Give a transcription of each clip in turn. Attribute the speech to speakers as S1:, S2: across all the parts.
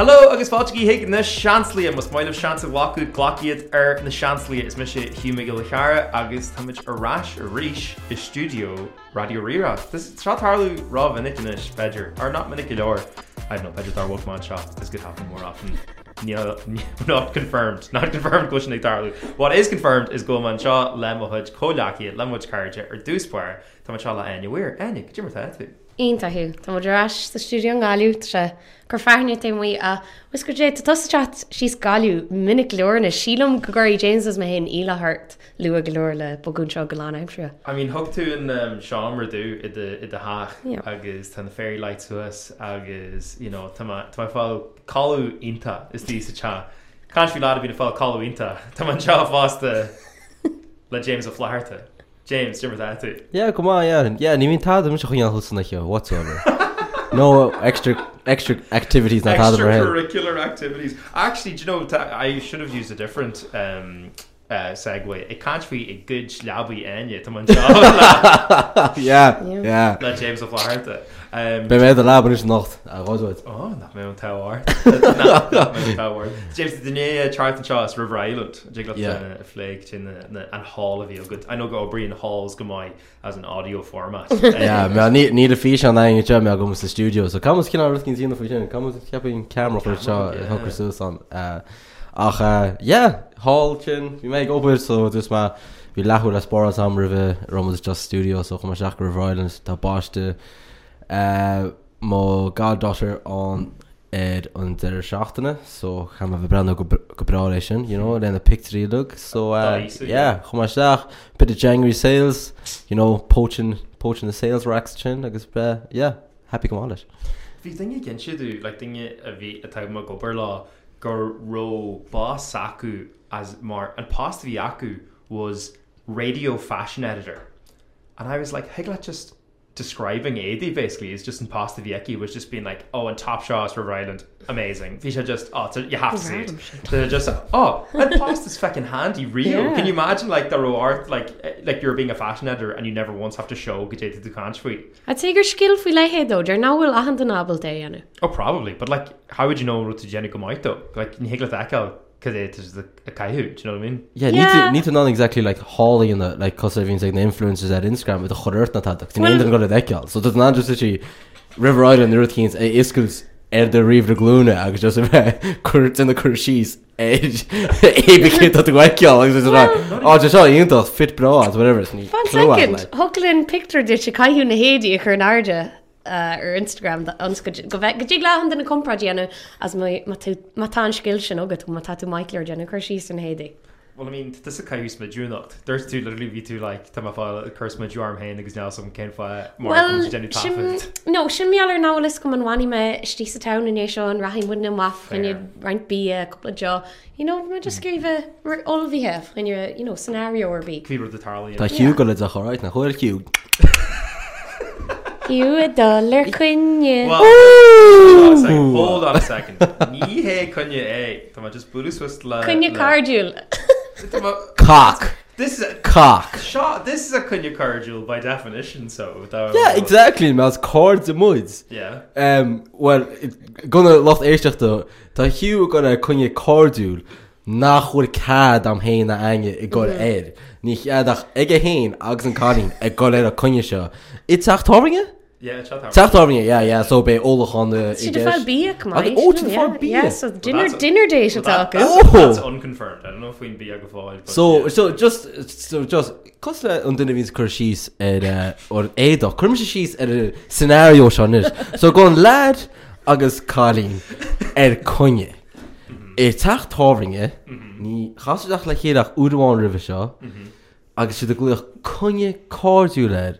S1: Hello agus fátíí hiic na seanlia mas maiileh seansa bhacu glaciad ar na seanlia is me sé thuúmiigi le cheara agus táid arás a ríis i stúo radio rira. Tus tráthlú rá vinnicnis Beiidir ar ná minic leir I know Beiidir ar bhmá seo is go happen mór often. Yeah, not confirmed not confirmed question darlu what is confirmed is go man sha lemahud kolaki lemwich character or deucepar tamachala and weir enig jimmer tattoo
S2: Ítathú Tá mu ráis sa stúdio an gáútre gur fearne é mu a wisgur dé tá tosteat síos galú minic leor na sílam gogurí James is mé hén ilethart lu a goor le boúnseo goánimtre.
S1: I mean hug tú in um, seaamar dú i de i de haach
S2: Yeah.
S1: agus tan féir leit suas agus you know, tá fá callú inta is tí sa cha. Can fi lá a bhí fá callú inta Tá an seo fásta le uh, James a flaharta. James Jim tú.
S3: Yeah, come on, yeah, yeah. Ni min tad mis chuin hus nach here whatsoever. No extra extra activities na tad mar hen.
S1: Extracurricular activities. Actually, do you know ta- I should have used a different um, uh, segue. It can't be a good slabby aine tá an seo
S3: Yeah,
S2: Yeah.
S3: yeah.
S1: le James a flaharta. Um,
S3: Be me de laben is nacht a rot.
S1: Oh, nach mé an táhhar táhhar. James duné Charlton Charles River Island
S3: Yeah.
S1: a flé sin an hall a bhí go. I know go brion halls go mai as an audio format. Uh,
S3: Ja, me ni ni a fi an ein jo me go mus studio. So kam kin alles kin sinn fi. Kam heb een camera for cho
S1: yeah.
S3: hokker so san. Ach eh, ja, hallchen. Vi me op so dus ma vi lachu a spor sam rive rom just studio so kom Jack River Islands ta barste. Eh, má gádáir an ar an deir seachtainna so cha a bh brenn go bralé sin, you know, lena picturíach so
S1: Tá
S3: uh,
S1: í sú,
S3: yeah, chum mar seach bit of January sales, you know, poaching poaching the sales racks chin agus bre yeah, happy go máis.
S1: Bhí dinge gin siadú le dinge a bhí a tá go bar lá gur robá sacu as mar an past bhí acu was radio fashion editor. And I was like, hey, like just describing AD basically is just in Pasta Viecki was just being like, oh, and Top Shaw's River Island, amazing. Fisha just, oh, so you have to see it.
S2: Random shit.
S1: They're just, oh, and pasta's fucking handy, real. Yeah.
S2: Yeah.
S1: Can you imagine like the raw art, like eh, like you're being a fashion editor and you never once have to show Gajeta Dukan Street.
S2: A te gur skill fao lehédó ar náhfuil a an den nabal dé anna.
S1: Oh, probably. But like, how would you know what to Jenny come out though? Like, you higgle that out because it is the a kahoot. Do you know what I mean?
S3: Yeah, yeah. Need,
S2: Yeah.
S3: to, need to not exactly like hauling in the like cause everyone's like the influencers at Instagram with the choirt na tadach. Well,
S2: Well-
S3: Tine go dekel. So that's not just actually River Island the Ruthkeens e iskus er the River Gluna agus just curts in eh, the curshis edge. E became that dekel. Like just like oh just all you know fit bra as whatever it's neat.
S2: Fan second Holinn picture dit se caiú na héadí a chu náde ar Instagram go bheith gotí lehan den na compradéanana as matá skill sin agad tú matá tú Michael déanna chu síí san héadí.
S1: Well, I mean, this is kahoot my Junocht. There's two literally be two like time I file a curse my Juarm hand because now some can fire more well, Jenny
S2: sim-
S1: Taffet.
S2: no sin méall ar nális go an bhhaine me stí sa tan in ééis seo an rahinn bud am waf
S1: Fair. Hmm.
S2: in reinint bí eh, a couplela jo. I me just scríh all bhí heh in you know, scenario or bí.
S1: Cleaver the Tarly.
S3: Tá hiú go le a choráid na choir hiú.
S2: Iú a dollar chuine.
S3: Oh,
S1: Well, hold on a second. Hold on a second. Ní hé chunne é Tá just buú le
S2: Cuine cardúil.
S1: cardú.
S3: Cock.
S1: This is a
S3: Cock.
S1: shot. This is a cunya cardule by definition. So without
S3: Yeah, exactly. Mas cords and moods.
S1: Yeah.
S3: Um, well, it- gonna locht éisteachta Tá hiú gona chunne cordúil nach chuir cad am héin na aine i ggur éir. Ní cheadach ige héin agus an caín ag go éir a chunne seo. I teachtáringe?
S1: Yeah, shot that.
S3: Teachtáringe, ja, so bé ólachanna
S2: Si de fá bíach
S3: Ag- ó, sin fearr bíoch.
S2: so
S1: that's
S2: dinner
S1: a-
S2: dinner dé se
S1: Well, that-
S2: takegus.
S1: that's-
S3: Oh!
S1: That's unconfirmed. I don't know if we'd be able to follow it.
S3: So so just so just cos le an duine vín chur síos ar ó éadach chum sé síos ar a scenario seis. So go an lead agus cálín ar conne. I techt táringe ní chaach le chéadach uháin rih seo agus si a gluoch conne cáú leir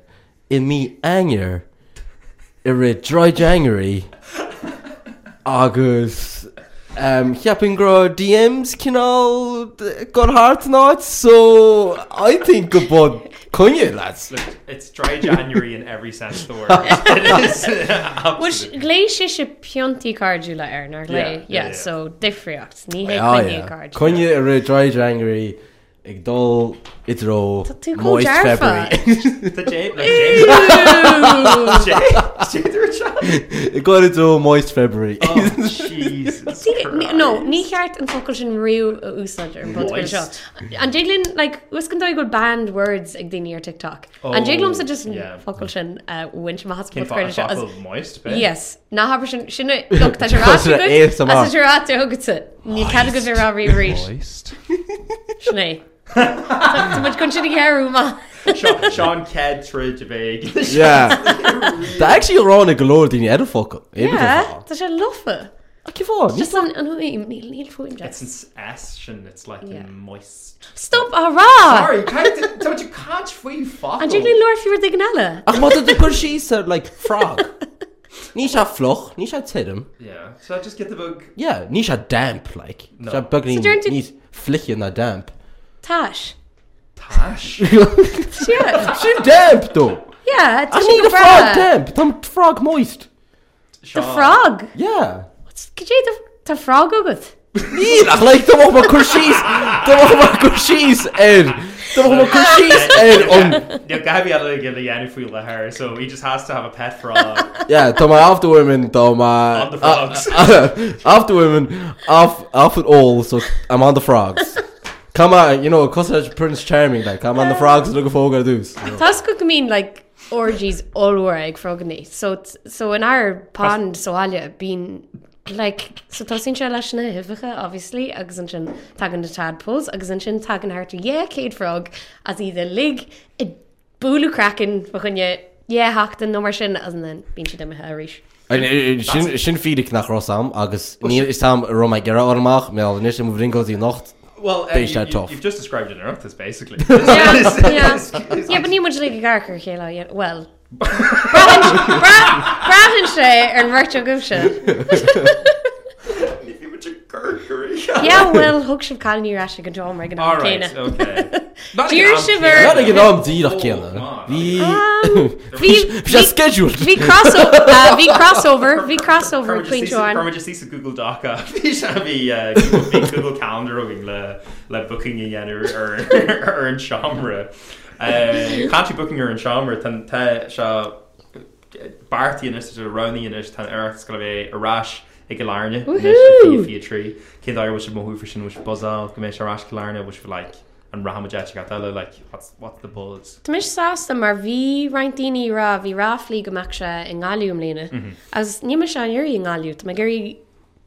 S3: i mí air i ri dry January agus um, chiaapin gro DMs cinál got hart náid so I think go bod conne lads.
S1: Look, it's dry January in every sense of the word. it is. uh,
S2: Wus
S1: absolutely.
S2: lééis sé se peontí cardúla ar nar
S1: Yeah, yeah, yeah.
S2: lé so difriocht ní hé
S3: Ja,
S2: cuine
S3: ja.
S2: cardú.
S3: Conne i ri dry January ag dul idro
S2: Tá tú
S3: moist
S2: códearfa.
S3: February.
S1: The James. Like James. James. James. James.
S3: I got it all moist February.
S1: Oh, Jesus
S2: Sí, ní- No,
S1: Christ.
S2: ní cheart an focail sin riú a úsáidir an bud seo.
S1: Moist.
S2: An déglinn lehuiscin dó go banned words ag daoine ar TikTok. An déglumm sa just
S1: Oh, yeah.
S2: focail sin win sem has
S1: Can
S2: pod
S1: fuck a
S2: seo. as-
S1: couple of moist bit.
S2: Yes, ná hab sin sinna tá sé
S3: Tá sinna
S1: eh,
S3: ASMR.
S2: ráráte agat ní ce go bhar rá ríéis
S1: Moist.
S2: sné. Tá mu chun sinna gearú má.
S1: Sean Sean Ked trid a big.
S3: Yeah. Tá actually rán na golóir daoine ar focail.
S2: Tá sé lofa.
S3: Aici fá.
S2: Just an anhuiim níl níl fuim
S1: It's an S and it's like
S2: Yeah.
S1: yeah. moist.
S2: Stop a rá!
S1: Sorry, can't, don't you can't we fuck?
S2: An dégla leir fiúir ag an eile.
S3: Ach má de chur síos ar le frog. Ní se floch, ní se tiidirm.
S1: Yeah. So I just get the book.
S3: Yeah, ní se damp le.
S1: No.
S3: Se bugní
S2: So don't you-
S3: ní flian na damp.
S2: Táis.
S1: Tash.
S2: Yeah,
S3: Sin damp dó.
S2: yeah.
S3: Ach
S2: Tasha
S3: ní go frog
S2: Cabrera.
S3: damp, Tá frog moist.
S2: The
S1: Sean.
S2: frog.
S3: Yeah.
S2: What's could you the the frog ogut?
S3: Ní ach le do má chur síos Tá chur síos ar Tá má chur síos ar an
S1: Yeah, Gabby had to give the Yanni Fui her, so he just has to have a pet frog.
S3: Yeah, tá mai after women tá
S1: On the frogs.
S3: mai uh, after women off off it all so I'm on the frogs. Come on, you know, cause that's Prince Charming like I'm on the frogs looking for what I do.
S2: Tasco can mean like orgies all were egg frogni. So it's- so in our pond soalia been like so tosin se leis na hifacha obviously agus an sin tagan de tadpols agus an sin tagan hartu yeah Kate frog as either lig i búlú kraken fa chunne yeah hacked an nomar sin as an then bín si de a ríis.
S3: And uh, sin sin feedig nach Rossam agus ní is tam ro my gera ormach me al nish move ringo die nacht.
S1: Well, uh, you,
S3: Based out
S1: you,
S3: of.
S1: you've just described an Earth, basically.
S2: Yeah, yeah. yeah, but ní mu le garchar chéile iad- well. Brahan sé ar an bhharirte gomh se.
S1: If you were to gurgle.
S2: Ja bhfuil thug sib caiíra se go dom ar
S1: All right,
S2: gcéine.
S1: okay.
S2: Dear Shiver.
S3: Not again am die
S1: Oh,
S3: nach kenne.
S1: my.
S2: um,
S3: Bhí scheduled.
S2: Bhí crossover uh, bhí crossover bhí crossover
S1: Perma
S2: Queen
S1: just sees-
S2: Joan.
S1: Perma just sees a Google Doc up. Bhí se bhí, uh, Google- bhí Google Calendar ó bhí le le booking i dhéanú ar ar an seamra. Cátí booking ar an seamra tan te seo bartííonis a roníonis tan airs go bhéh aráis ag go lárne
S2: Woohoo!
S1: fi trí cé áir bh mthú fri sin bh buzáil go mééis arás go lárne bh le an rahamide go eile le what's- what's the bulls.
S2: Tá mis sásta mar bhí reintíí ra bhí ráflí goach se i gáúm léna.
S1: Mhm.
S2: As níime se anúí i gáú, Tá gurí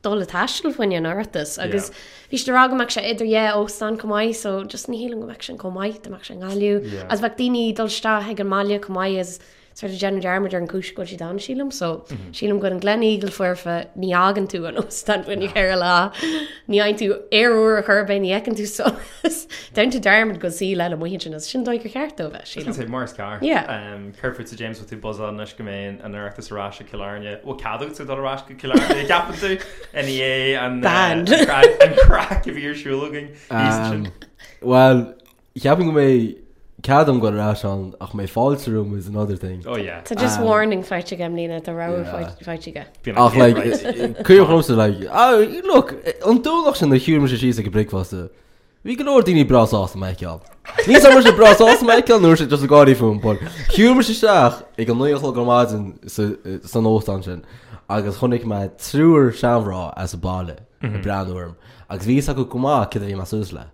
S2: dóla taiisiil foiine átas agus bhís de rágamach se idir dhé ó san commáid so just ní hílan gombeh sin commáid amach se gáú.
S1: Yeah.
S2: As bheith daoine dultá he an máile commáid is sort of Jenna Jarmid ar an cis go si dá sílam, so sílam go an glenígel fufa ní agan tú an óstanfuin ar lá. Ní ein tú éú a chubé ní ecan tú so Deintú darmid go sí le muhin sin sin dóid go cheartó bheith sílam.
S1: sé mars car
S2: Yeah.
S1: Curfu a James tú buzz nes goméin an ertas ará a kilárne ó cadú tú dorá go kilárne capú in é an
S2: Banned.
S1: an uh, crack a bhír siúlagin
S3: Um, Well, ich habe mir Kadam got rash on ach my false room is another thing.
S1: ó oh, yeah
S2: So just
S3: Um,
S2: warning fight again, Lena, the row
S3: yeah.
S2: yeah. fight again.
S1: Being
S3: Ach,
S1: yeah,
S3: like, eh,
S1: right.
S3: Cuir chumsa le "Oh, look an dúlach sin na hiúm sé síos go bricfaste. Bhí go leir daoine braás me ceall. Ní sam sé braás me ceall nuair sé just a gáí fún pol. Hiúm sé seach ag an nuochil go máin san óán sin agus chunig me trúr seanrá as a balle
S1: Mhm.
S3: breanúm agus ví a go cumá ce bhí mar sús le.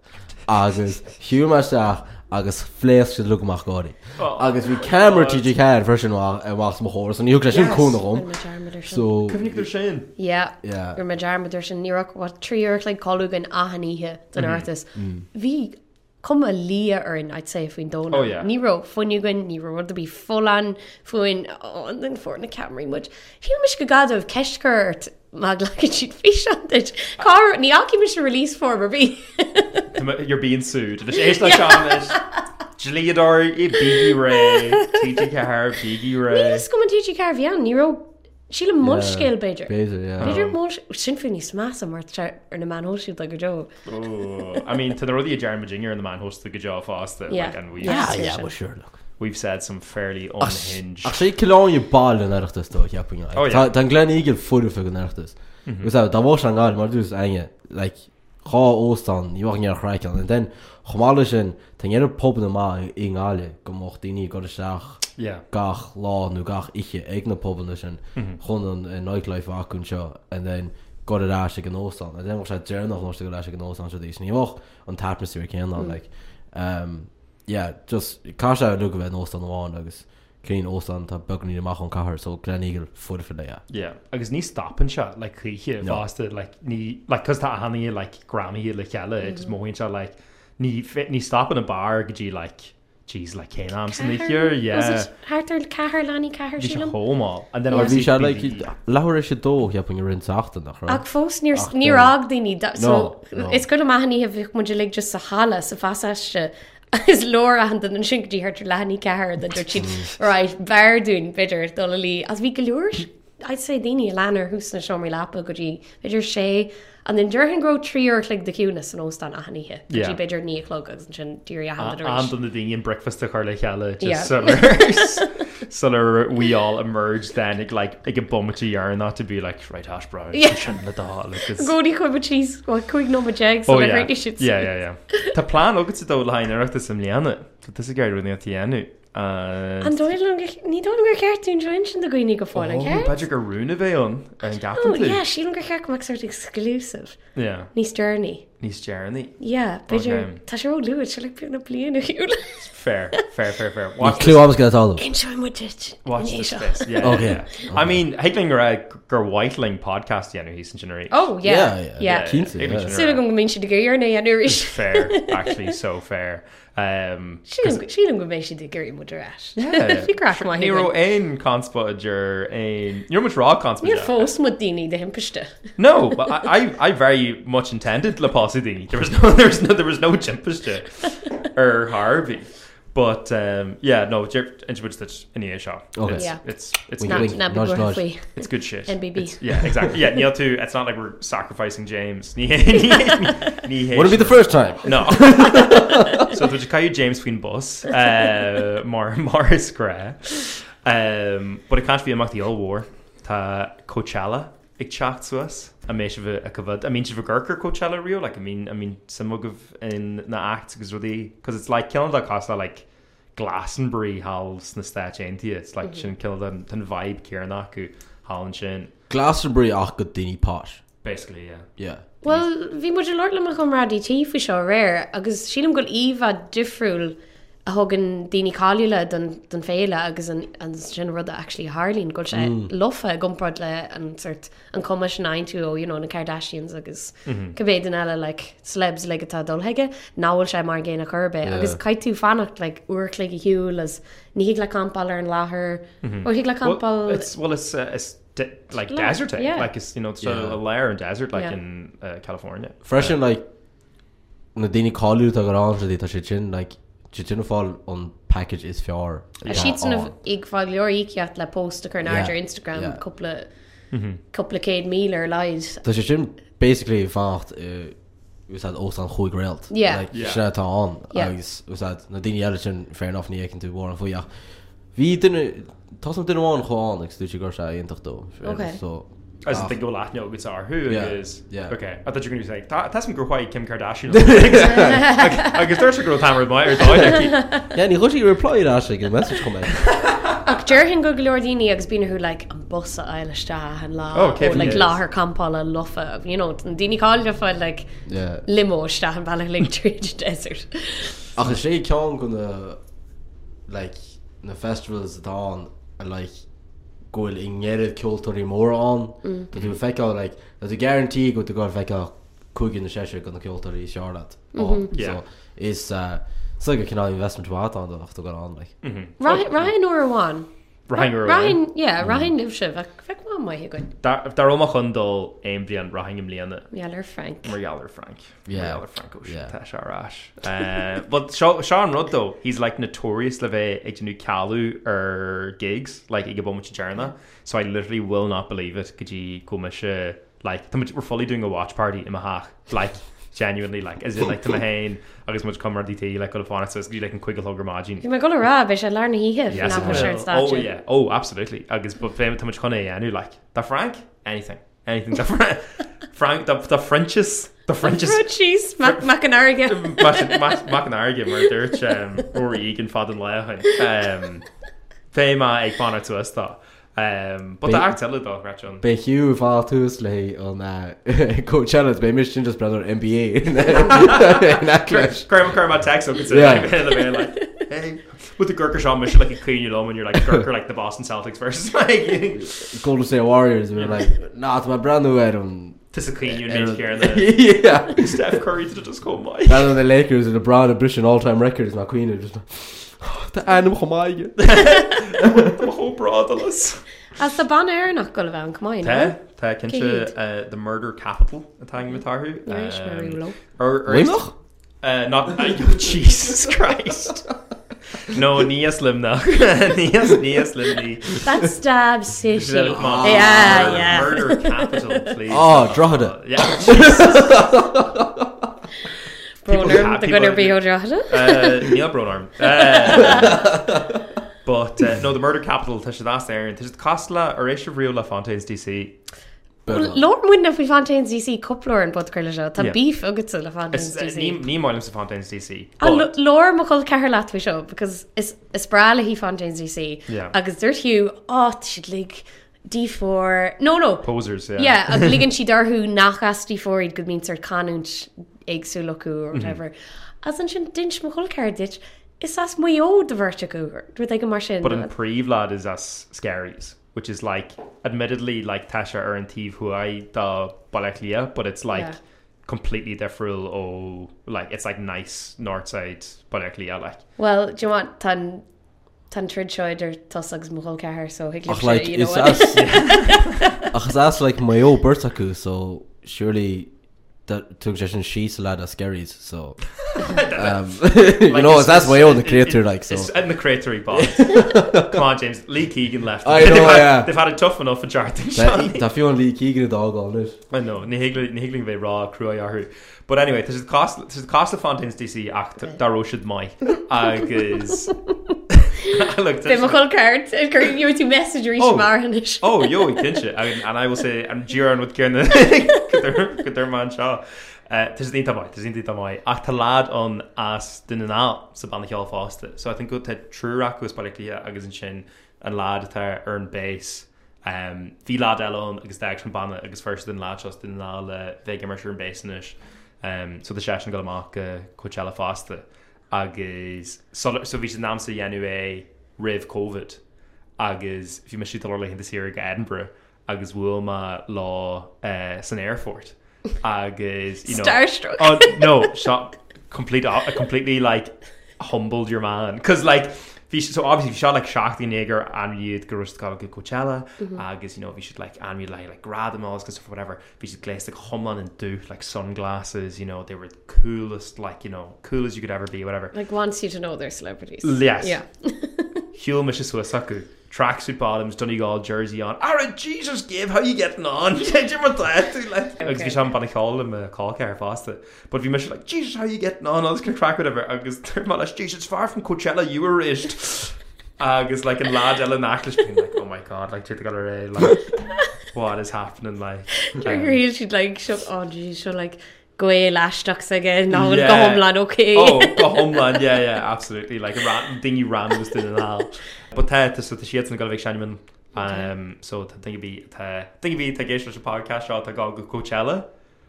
S3: agus hiúmar seach agus fléas si luach gáí.
S1: Oh,
S3: agus bhí camera TG ceir fresin bhá mthir san hiú lei sin
S1: Yes.
S3: cúna gom.
S2: So,
S3: Um, So
S1: Cymnig ar sin
S2: yeah.
S3: Yeah.
S2: Or my jarm there's in Iraq what three or like Colgan Ahanihe the
S1: Mhm.
S2: artist. V come a Leah earn I'd say if we don't
S1: Mm. Oh, yeah.
S2: Nero fun you going Nero would be full on fun oh, and then for in the camera much. He mish gagad of Keshkert mag like a cheat fish on it. Car ni aki mish release for me.
S1: you're being sued Tá sé éis le sean eh, Jilíador i bigí ré TG cear bigí ré
S2: Just come and teach you Carvian Nero Sheila Mulscale Bader.
S3: Beidir, yeah.
S1: Oh.
S2: Beidir mór sin fin níos más am mar ar na manhol siú le go jo.
S1: I mean to the rodí a Jeremy Jr in the man host the good job fast
S2: Yeah.
S1: and we
S2: Yeah.
S3: sure.
S1: we've said some fairly unhinged
S3: sé kilóin ballen erachtas do Japan.
S1: Oh, yeah.
S3: Dan glen igel fufu gon erachtas. Gus da war an gal mar dus enge chá óstan níhah ar chráicil an den chomáile sin tan ggéidir pop na má i ngáile go mocht daoine go seach
S1: Yeah.
S3: gach láú gach iche ag na poblne sin chun an- an nightlife aún seo an den go rá se an óán a den sé dé nach nó go rá an óán se dééis níoch an tapmasú céan le ehm, just cá se lu go bheith óán amháin agus céon óán tá buní amach an cahar so gleníigil fud fi le
S1: Yeah, agus ní stoppin se le chuché
S3: No.
S1: báasta le cos tá hanaí le gramí le cheile gus
S2: Mm.
S1: móhain se le ní fit ní stoppin a bar go dtí le tíos le céam san níir
S2: Hartar cehar lení cehar sílam.
S1: hóá an den
S3: bhí se le lehair is se dó heapin rinseachta nach ra
S2: Ag fós níor
S3: Ach,
S2: níor
S3: no.
S2: ag daoine da-
S3: No,
S2: so
S3: no.
S2: Is go maithanaí a bhíh muidir le just sa hála sa fáiste is lór a an an sintí hartar lení ceair den dúir siad ráid bhearún bidir dola lí as bhí go leúir I'd sé daoine leanar hús na seomí lepa go dtí idir sé an den dúirhan gro tríor clic de cúna san óstan ahananíthe
S1: Yeah.
S2: Dtí beidir nílog agus an sin tíir
S1: an an na daon breakfast a chuir le
S2: Yeah.
S1: cheile so we all emerge then ag like ag an bombatí ar ná to be like right hash bra
S2: Yeah.
S1: sin le dá agus
S2: Gcóí chuibh tíos chuig nó je
S1: Oh,
S2: le
S1: yeah.
S2: réidir si
S1: Yeah, yeah, yeah. Tá plán agus a dó lein arachta sem leanana, Tá tu a gaiirúna a tíanú.
S2: An dóil ní dó gur ceirtún join sin do gooine go
S1: Oh,
S2: fáin ce?
S1: Peidir go rúna bhéh an an
S2: Oh, yeah,
S1: gapan
S2: sílan gur cheach meach sort exclusive.
S1: tú.
S2: Níos journey.
S1: Níos dearna.
S2: Yeah, beidir
S1: Okay.
S2: tá sé ó luúid se le púna blianana hiúla.
S1: Fair, fair, fair, fair. Watch
S3: clú agus go tá
S2: Inseoim mu dit.
S1: Watch this space. Yeah,
S3: Okay.
S1: yeah, yeah. I mean, heitling gur a gur whiteling podcast er dhéanú hí san generation.
S2: Oh, yeah, yeah.
S3: Quince,
S1: Éimear
S3: yeah.
S1: sin
S2: Súla
S1: ar-
S2: go go mín si de gaiir na anúéis.
S1: Fair, actually, so fair. Um,
S2: Sílan go mééis si de gaiir mu ras.
S1: Yeah.
S2: Fi graf mai.
S1: Nero ein conspirator ein you're much raw
S2: Níor
S1: conspirator.
S2: fós mu daoine de himpeiste.
S1: No, but I, I, I very much intended La Posidini. There was no, there was no, there was no Chimpista or Harvey. But um, yeah, no, Inchbridge that's in the shop.
S3: Okay.
S1: It's,
S2: Yeah.
S1: it's it's
S3: We
S1: good.
S3: wink,
S2: Ná
S3: nudge,
S2: go
S3: nudge.
S2: faoi.
S1: It's good shit.
S2: NBB.
S1: It's, yeah, exactly. Yeah, Neil too. It's not like we're sacrificing James. Ni, ni, ni, ni
S3: Wouldn't be the first time
S1: No. so dwi wedi cael James Queen Bus, uh, Mar Morris Gre. Um, but it can't be amach the old war. Ta Coachella, ag chat to us. A meis of a cyfod. I mean, if a gurker Coachella real, like, I mean, I mean, some of in na act, because really, because it's like Kilda Costa, like, Glastonbury halls na stage into you. It's like, shin Kilda, tan vibe, Kieranaku, Hall and shin.
S3: Glastonbury ach go daoine pás
S1: Basically, yeah.
S3: yeah
S2: Well, hí mu leir le chum radí tí fa seo réir, agus sílam go íomh a difriúil a thugan daoine cáúile don féile agus an an sin rud eala Harlín go sé
S1: Mm.
S2: lofa gomprad le an sort an commas 9tú ó you know, na Cardassians agus
S1: Mhm.
S2: cabbéan eile le slebs le atá dulheige náhfuil sé mar géanana chube
S3: Yeah.
S2: agus caiit tú fannacht le uircla a hiúil as níhiigh le campball ar an láthair ó hiic le
S1: Mhm. Well,
S2: campball
S1: it's well, it's uh, it's de- like
S2: Layer,
S1: desert, eh?
S2: yeah.
S1: like it's you know it's
S3: Yeah.
S1: a, a layer of desert, like
S2: Yeah.
S1: in uh, California.
S3: Freisin le na daine cáú a gur an dí tá sé sin le si sin fáil an package is fear.
S2: A sheet sin of ag fá leorí ceat le post a chun
S3: Oh. Yeah,
S2: aidir Instagram
S3: yeah.
S2: cúpla
S1: Mm-hmm.
S2: cúpla céad míl ar leid.
S3: Tá sé sin basically eh, fácht ús ó an chuig réilt
S2: Yeah.
S1: Yeah.
S3: sin tá an
S2: Yeah.
S3: agus ús na daine eile sin féarnach ní n tú bhór an foioach. Hí duine tá an duine bháin cháán agus dú gur se aontachdó
S2: Okay.
S1: I
S3: Ah.
S1: just think you'll laugh no guitar who
S3: Yeah,
S1: yeah. is
S3: yeah.
S1: okay I thought you were gonna be like "Tha- that's some girl white Kim Kardashian like, I guess there's a girl time with my or the
S3: Ja ní chuí repláid a sé go message com.
S2: Ach deirhin go leordíine agus bíanaú le an bus a eileiste an
S1: Oh,
S2: lá ó
S1: Kevin
S2: le
S1: Yates.
S2: láthair campála lofa an daoine cáil fáil le
S3: Yeah.
S2: limóiste an bhealach le tríd desert.
S3: agus sé cean go na like, na festivals dá ar like, gofuil ingéad ceúirí mór an Tá tú feá le na tú garantí go oh, tú gáil feá chuigin na séise go na ceúirí Charlotte Oh,
S1: Yeah.
S3: is su go cinál investment bá an achta go an
S1: Mm.
S3: le
S2: Rahin ó amháin.
S1: Oh. Ryan Mm-hmm.
S2: rahin libh se bh feh má maithe goin.
S1: Dar oma chundal aim blian Rahingam liana
S2: Meallar Frank.
S1: Marialler Frank
S3: Yeah.
S1: Marialler Franco
S3: Yeah.
S1: Tash Arash uh, but Sha- Sean Rudd though he's like notorious leve ag nu calu or er gigs like ag bunch of jarna so I literally will not believe it could you come like tá muid- we're fully doing a watch party in Mahach like genuinely like is it like to Mahane agus much come DT like go fauna so it's like an quiggle hugger margin
S2: Bhí me go rá bheits sé lena híheh
S1: Yes, it
S2: ná
S1: will.
S2: seir
S1: Oh
S2: sta.
S1: yeah. Oh, absolutely. I guess, but fame how much Connie and you like the Frank, anything, anything. The Frank, Frank, the, the Frenches, The French is
S2: Bro, cheese mac mac an aige
S1: mac an airge mar dúirt óí an fadan lehan. Fé má Um, ag fanna tú tá. Ba
S3: Bé-
S1: ag teledá raún.
S3: Bei hiú fá túús lei an Coachella bei mis sin just brenn NBA
S1: Crim chu má text agus
S3: Yeah.
S1: With the Gurkha Sean mission like a clean you low and you're like Gurkha like the Boston Celtics versus like
S3: Golden State Warriors we were like ná má brenn er an
S1: Tis a clean you
S3: er
S1: need
S3: an-
S1: here and then
S3: Yeah.
S1: Steph Curry to just go my
S3: Brenn an the Lakers in a bra a British all-time records má Queen just Tá anm go maiige
S1: whole broadless.
S2: as sa ban air nach go le bh an cumáin
S1: Tá Tá
S2: Cé
S1: cinse uh, the murder capital atá matarú
S2: marúló
S1: Or
S3: Réimach?
S1: Uh, not oh, Jesus Christ. No, níos lim nach níos níos limní
S2: That stab sushi.
S1: Murder-
S2: Ah. Yeah,
S1: Uh,
S2: yeah.
S1: Murder capital please. Uh,
S3: Á, drochada.
S1: Yeah, Jesus.
S2: Bro,
S1: People
S2: they're
S1: have-
S2: they're
S1: people
S2: gonna
S1: are-
S2: be O'Drahada.
S1: Uh, Neil Bronarm. Uh, But uh, no, the murder capital tá sé dá air an tuis costla ar éis riú le Fontaines DC.
S2: Lord wouldn't have we Fontaine's DC coupler and both Curlish.
S1: Yeah.
S2: That beef oh, uggets of Fontaine's
S1: It's, uh,
S2: DC.
S1: ní ní mailim sa Fontaines DC. but-
S2: Lore McCall Cahir Latwi show because it's it's Brala he Fontaine's DC.
S1: Yeah.
S2: Agus there's Hugh. Oh, she'd like D4. No, no.
S1: Posers, yeah.
S2: Yeah, ag ligan si darthú nach as D4 go mín ar canúint agsúlaú
S1: Mhm.
S2: or whatever. As an sin dinch mohol ceir dit, is as muo de vertigo, dwi ag go mar sin.
S1: But in Prevlad is as scaries, which is like, admittedly, like Tasha or and Teve, who I da Balaklia, but it's like
S2: Yeah.
S1: completely different. Oh, like it's like nice Northside Balaklia, like.
S2: Well, do you want tan tan tridchoider tusags mughal cahar so he
S3: ach like
S2: you know what?
S3: it's us ach it's us like my old Bertaku so surely that took just she's a lot of scaries so um, you
S1: Like,
S3: know
S1: it's-
S3: that's my own the
S1: it-
S3: creator
S1: it-
S3: like so
S1: It's in the creator box. Come on, James. Lee Keegan left.
S3: I know,
S1: they've had,
S3: yeah.
S1: They've had it tough enough for Jarting Shawnee.
S3: Tá fiú an lí cígan a dog á lis
S1: I know. Nihigling they raw crew I are. But anyway, this is the cost. This is the cost of Fontaine's DC act. Daro should my. Agus. I looked.
S2: Be mughal cahar, gur you tú message rí
S1: Oh.
S2: mar hanis.
S1: Oh, yo, kinship. I mean, and I will say, I'm jeering with Kieran Kadir Man Shaw. Tis ní tamai, tis ní tamai. Ach tá lád an as duna ná sa banna cheall fásta. So I think go te trúraach agus para clia agus an sin an lád atá ar an base. Um, Bhí lád eón agus deag an banna agus first den lád seos duna ná le bhéige mar an bésanis. Um, so de sean go amach uh, Coachella fásta. Agus, so, so bhí sin nám sa dhéanú é rih e, COVID. agus bhí me siú le hin siir go Edinburgh agus bhfuil má lá eh, san airfort agus you know-
S2: Starstruck.
S1: oh, no shot complete o- completely like humbled your man because like fi- so obviously if you shot like Shakti Nagar and you go to Coachella mm-hmm. agus you know if you should like and you like like grab them all because whatever if you should glaze like humlan and do like sunglasses you know they were the coolest like you know cool as you could ever be whatever
S2: Like wants you to know they're celebrities.
S1: Yes.
S2: Yeah.
S1: Hugh Mississauga, tracksuit bottoms, Donegal jersey on. Aaron, Jesus, give, how you getting on? Change your mind, like. Agus bhí sem banna cháil am cáceir fásta, but bhí mis like, Jesus, how you getting on? Agus cin crack whatever. Agus third man, Jesus, far from Coachella, you were raised. Agus like in lad Ellen Acklish being like, oh my god, like you're gonna ray, like what is happening, like.
S2: Gur hí siad le seo áí seo le go eh, é leisteach aige ná
S1: Yeah.
S2: oh, go homláinké.
S1: Oh, go homeland, yeah, yeah, absolutely. Like a random thing you ran was doing an al. But uh, this with the sheets and got a big shaman. Um, so I think it'd be uh, think it'd be a Tagish Lush podcast shot that got Coachella.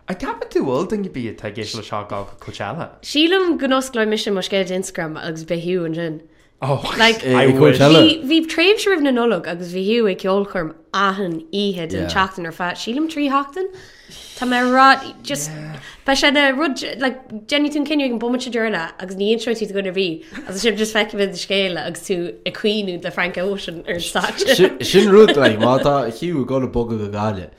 S1: I can't be too old. Think it'd be a Tagish Lush shot got Coachella.
S2: Síílam gnos le mission mar scéad Instagram agus behiú an sin.
S1: Oh,
S2: Like- Eh,
S1: I wish.
S3: Coachella. Hello.
S2: Bhí bhí tréim sibh na nolog agus bhíhiú ag ceolchum ahan iad
S3: Yeah.
S2: an teachtain ar fat sílim trí hátain Tá mé rá just Ba sé na rud le Jenny tún cinú an bomte deirna agus níon seo tú gona bhí agus sib just feici de scéile agus tú a cuiinú le Frank Ocean ar sta.
S3: Si- sin ruút le má tá hiú go le bog go gáile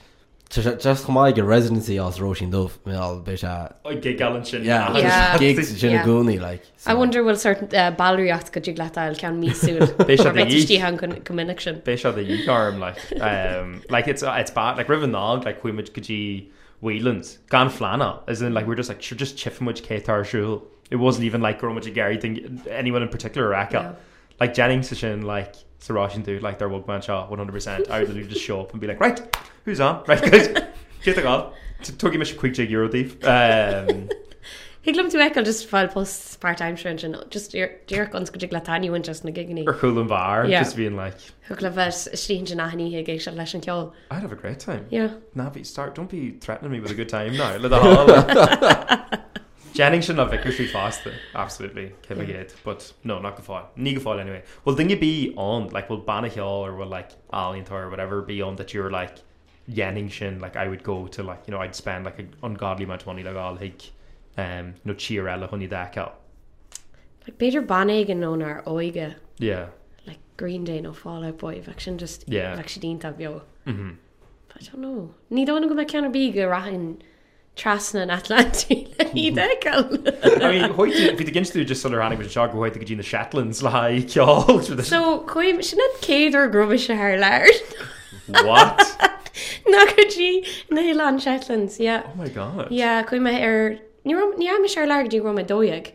S3: just go maiid go residency as Rosin dómh mé á bei se
S1: I get Alan Shin.
S2: Yeah.
S3: gigs sin
S2: Yeah.
S3: gúnaí le
S2: I wonder bhfuil certain uh, balúíocht go dtí letáil cean mísú
S1: Bhí sé ag
S2: tí
S1: iad.
S2: han connection.
S1: Bish of the yeek arm, like, um, like it's it's bad. Like Riven Nog, like Quimage Kaji Whelan's gone flannel, as in like we're just like sure just chiffmage Katar Shul. It wasn't even like Gromage Gary thing. Anyone in particular, Raka, yeah.
S2: Yeah.
S1: like Jennings Sashin, like Sarashin dude, like their Wugman Shaw, one hundred percent. I would literally just show up and be like, right, who's on? Right, guys, Chiaá tugi me se quick eurodíh
S2: Hilumm tú eil just fáil post part-time sin sin just dúr an go le tanúin just na giganí
S1: ar chulan bhar
S2: Yeah.
S1: just bhíon like
S2: chug le bheits sí sin naí gééis se leis an ceol.
S1: I'd have a great time.
S2: Yeah.
S1: Nah, but you start. Don't be threatening me with a good time now. Let the hell. uh, Jennings should not victory faster. Absolutely, Kevin
S2: Yeah.
S1: yeah. Gate. But no, not Gafal. Ni Gafal anyway. Well, then you be on like will Banahill or will like Alientor or whatever be on that you're like Jenningshin. Like I would go to like you know I'd spend like an ungodly amount of money like all like um no Chiarella honey that out.
S2: Le beidir bannaig an nónar óige
S1: Yeah.
S2: le Green Day nó fála boy bheh sin just
S1: Yeah.
S2: le sé dínta beo.
S1: Mm-hmm.
S2: nó. Ní dóna go me ceanna bí go rahin trasna an Atlantí le í deil.
S1: I mean, why did, if you'd against you just sort of running with a shock, why did you get in the Shetlands like y'all?
S2: So chuim sin net céidir grobe se haar leir.
S1: what?
S2: Na go dtí na hé an Shetlands, yeah.
S1: Oh my god.
S2: Ja, chuim me ar ní raibh- ní am se leir dí rom a dóag.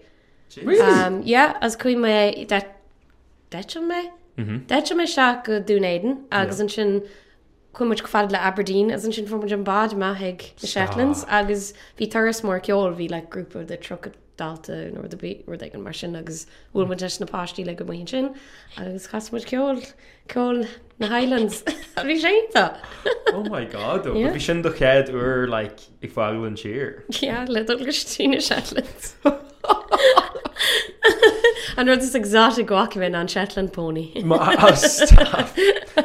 S1: Really?
S2: Um, yeah, as chuim me de de me?
S1: Mhm.
S2: De me se go dúnéiden agus an sin chuimiid go fad le Aberdeen as an sin form an bad maithaig na Shetlands agus bhí turas mór ceol bhí le grúpa de tro dalta nó de bí ru ag an mar sin agus bhfuil mu na pátí le go mhaon sin agus chasmuid ceol ceol na Highlands a bhí sénta.
S1: Oh my god, though.
S2: Yeah.
S1: Yeah. Fi sin do ched o'r, like, i ffael yn cheer.
S2: Yeah, little Christina Shetlands. and there's this exotic walkman on Shetland pony.
S1: Ma, oh, stop.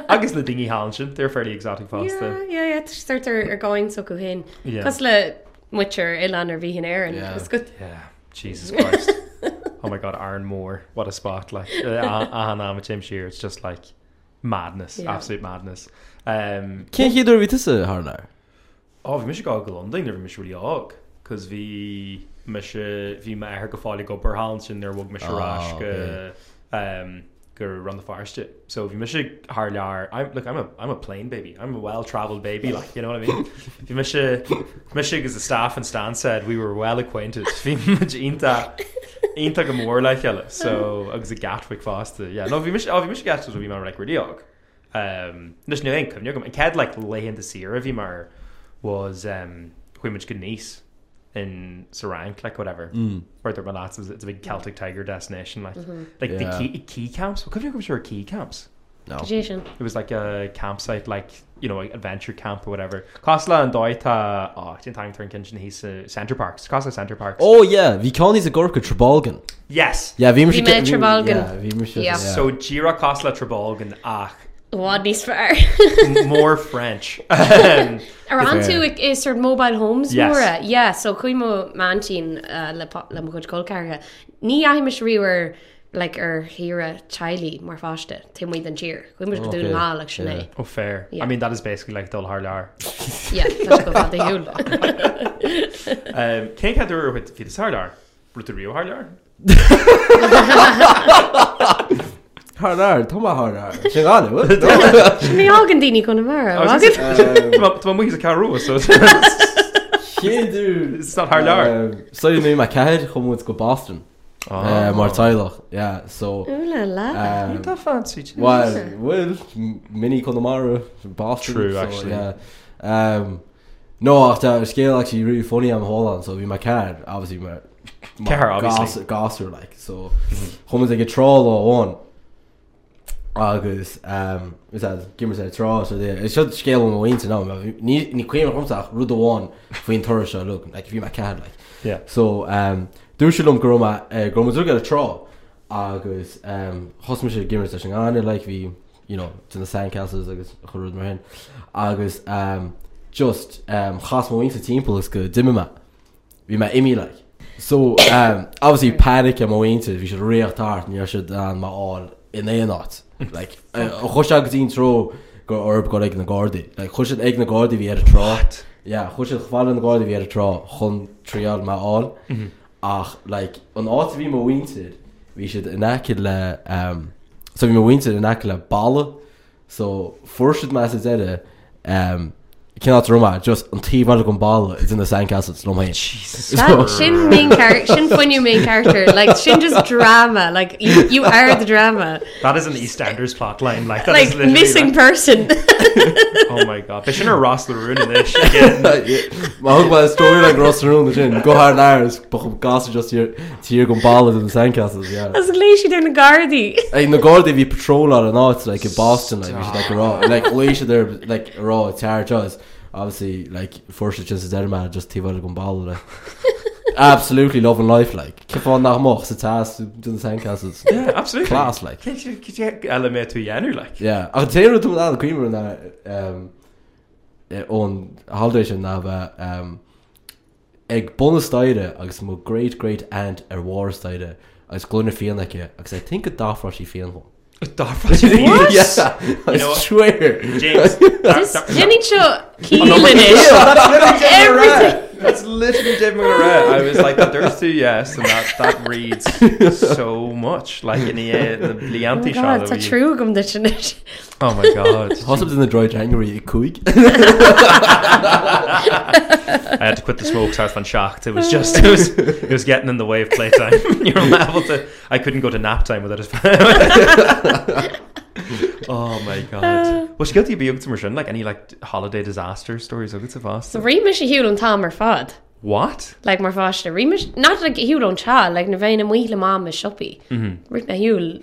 S1: Agus na dingy halen sin, they're fairly exotic fast
S2: Yeah,
S1: yeah.
S2: yeah, yeah. Just start are, are going so cohin.
S1: Yeah.
S2: Cause le Witcher Ilan or Vihan Aaron.
S3: Yeah.
S2: Yeah. It's good.
S1: Yeah, Jesus Christ. oh my god, Aaron Moore, what a spot. Like, uh, Ahana with Tim Shear, it's just like madness, yeah.
S2: Yeah.
S1: absolute madness. Um,
S3: Cén chiidir ví tusa hánar?
S1: oh, fi mis i gael London, never mis really og. Cos fi mis i, fi ma eher gyffali go bar halen sin, nir wog mis i
S3: Oh,
S1: rash
S3: okay.
S1: go, um, go run the forest it. So if you miss a hard yar, I'm look, I'm a I'm a plain baby. I'm a well travelled baby, like you know what I mean. if you miss a miss as the staff and Stan said, we were well acquainted. If you miss inta inta go more like yellow. So agus a Gatwick fast. Yeah, no, if you miss, oh, if you miss Gatwick, we might like radiog. Um, nus nu income. You're going. Cad like lay in the Sierra. If you mar was um, women's good niece in Sarank, like whatever.
S3: Mm.
S1: Or the Malats is it's a big Celtic tiger destination, like
S2: Mhm.
S1: like
S3: Yeah.
S1: the key, key camps. What could you consider key camps?
S3: No.
S2: Jason.
S1: It was like a campsite, like you know, like adventure camp or whatever. Cosla and Doita. Oh, it's in time turn kitchen. He's uh, Center Parks. Cosla Center Parks.
S3: Ó ja, hí cáníí a gorcha trbalgan.
S1: yes.
S3: Ja bhí mar
S2: Bhí
S3: sin
S2: mé
S3: ge- bhí-
S2: Trebalgan.
S3: yeah, bhí mar sin-
S2: Yeah.
S1: Yeah.
S3: yeah.
S1: So Jira Cosla Trebalgan. Ah,
S2: Wadney's fair.
S1: more French. Um,
S2: Around
S3: Yeah.
S2: to it is sort of mobile homes,
S1: Yes.
S2: yes. Nora. Yeah, so Kuimo Mantin, uh, le po- le mhud colcarga. Ni ahimish we were like er hira chile more faste. Tim we than cheer. Kuimo
S3: Oh,
S2: okay. doing
S3: okay.
S2: mal actually.
S3: Yeah.
S2: Yeah.
S1: oh, fair. Yeah.
S2: Yeah.
S1: I mean, that is basically like Dol Harlar.
S2: Yeah, that's go bad húl.
S1: Um, Can you get there with Fides Harlar? Ruth Rio Harlar?
S3: Hánar, Tá hánar. Sin gána, what? No.
S2: Mí ágan daoine chuna mar
S1: I Oh, was
S2: agus
S1: It's my wings a Karoo, so it's
S3: Chéadú.
S1: it's not Harlar.
S3: So mé mar ceir chumúd go Boston
S1: Oh. Ah.
S3: eh, mar taiilech, ja, so
S2: Úla lá
S3: um,
S1: That fancy. Jesus.
S3: Well, well, m- mini Connemara from Boston.
S1: True,
S3: so,
S1: actually.
S3: Yeah. Um, no, after our scale, actually, really funny. I'm Holland, so we my car, obviously, my, my
S1: Car, obviously. Mm-hmm.
S3: gas, gasser, like so. Homer's like a troll or one. Agus um, is that gimmer said troll so there. It's just scale on the way to now. Ni ni queen comes out rule the one for in Torres look like if you my car like.
S1: Yeah.
S3: So um, dúsilum groma uh, groma tú a trá agus um, hosmu sé gimar sin anna le bhí tú na saincastles agus chuúd mar hen agus um, just um, chasmóí sa timppla is go diimiime bhí me imi le. So um, obviously panic am óinte bhí sé réochtart ní se an má áil in éonát chuise agus ín tro gur orb go ag na Guarddaí, le chuise ag na Guarddaí bhí ar a trát.
S1: What?
S3: Ja, chuis an chfáil an gáil bhíar rá chun tríal má áil ach le an áit bhí má winter hí si in aice le um, so bhí má winter in aice le ballle so fuirsid me sa deide um, cannot roma just an tí bhile go ball is in the sandcastles no mai.
S1: Jesus.
S2: That Shin main character, Shin funny main character, like Shin just drama. Like you, you are the drama,
S1: That is an EastEnders plot line. Like, that is
S2: like
S1: literally
S2: missing person.
S1: Like, oh my god. They shouldn't have Ross LaRue in this again.
S3: Má thug bh stoir le grossún sin go th náirs ba go gas just tír tír go ball in the sandcastles yeah.
S2: As Lacey doing the guardy.
S3: Like na gá bhí patrol ar an áit e like in Boston like which is like raw like leiise there like raw tar jaws obviously like forse just a derma just tí bhile go ball le. Absolutely love and life like Kifá nach mo sa tas dun sandcastles
S1: yeah, absolutely.
S3: class like
S1: Can't you, could you element to Yanu like?
S3: yeah ach téú tú an cuiimar na um, eh, ón haldéis sin na bheith um, ag bonsteide agus mó great great and ar bhsteide agus glóna féanacha agus é tin go dáfra sí féanhá.
S1: What? know what? James.
S2: This Jenny Cho
S1: no, but-
S2: Keelan Everything.
S1: That's literally Dave McGrath. I was like, there's two yes, and that, that reads so much. Like in the, uh, the
S2: Oh my
S1: Blianti shot.
S2: god, it's a true gum that you need.
S1: Oh my god.
S3: Hosab in na droid January i cuaig
S1: I had to quit the smokes house on shocked. It was just, it was, it was getting in the way of playtime. You're unable to, I couldn't go to nap time without it. oh my
S2: Uh.
S1: god. Was she guilty of being some like any like holiday disaster stories? Oh, it's a vast.
S2: So Remish a Hewlon Tom or Fod.
S1: What?
S2: Like more Foster. Remish not like Hewlon Cha, like Navain and Wheelam Mama Shoppy. Mm-hmm. Rit na Hewl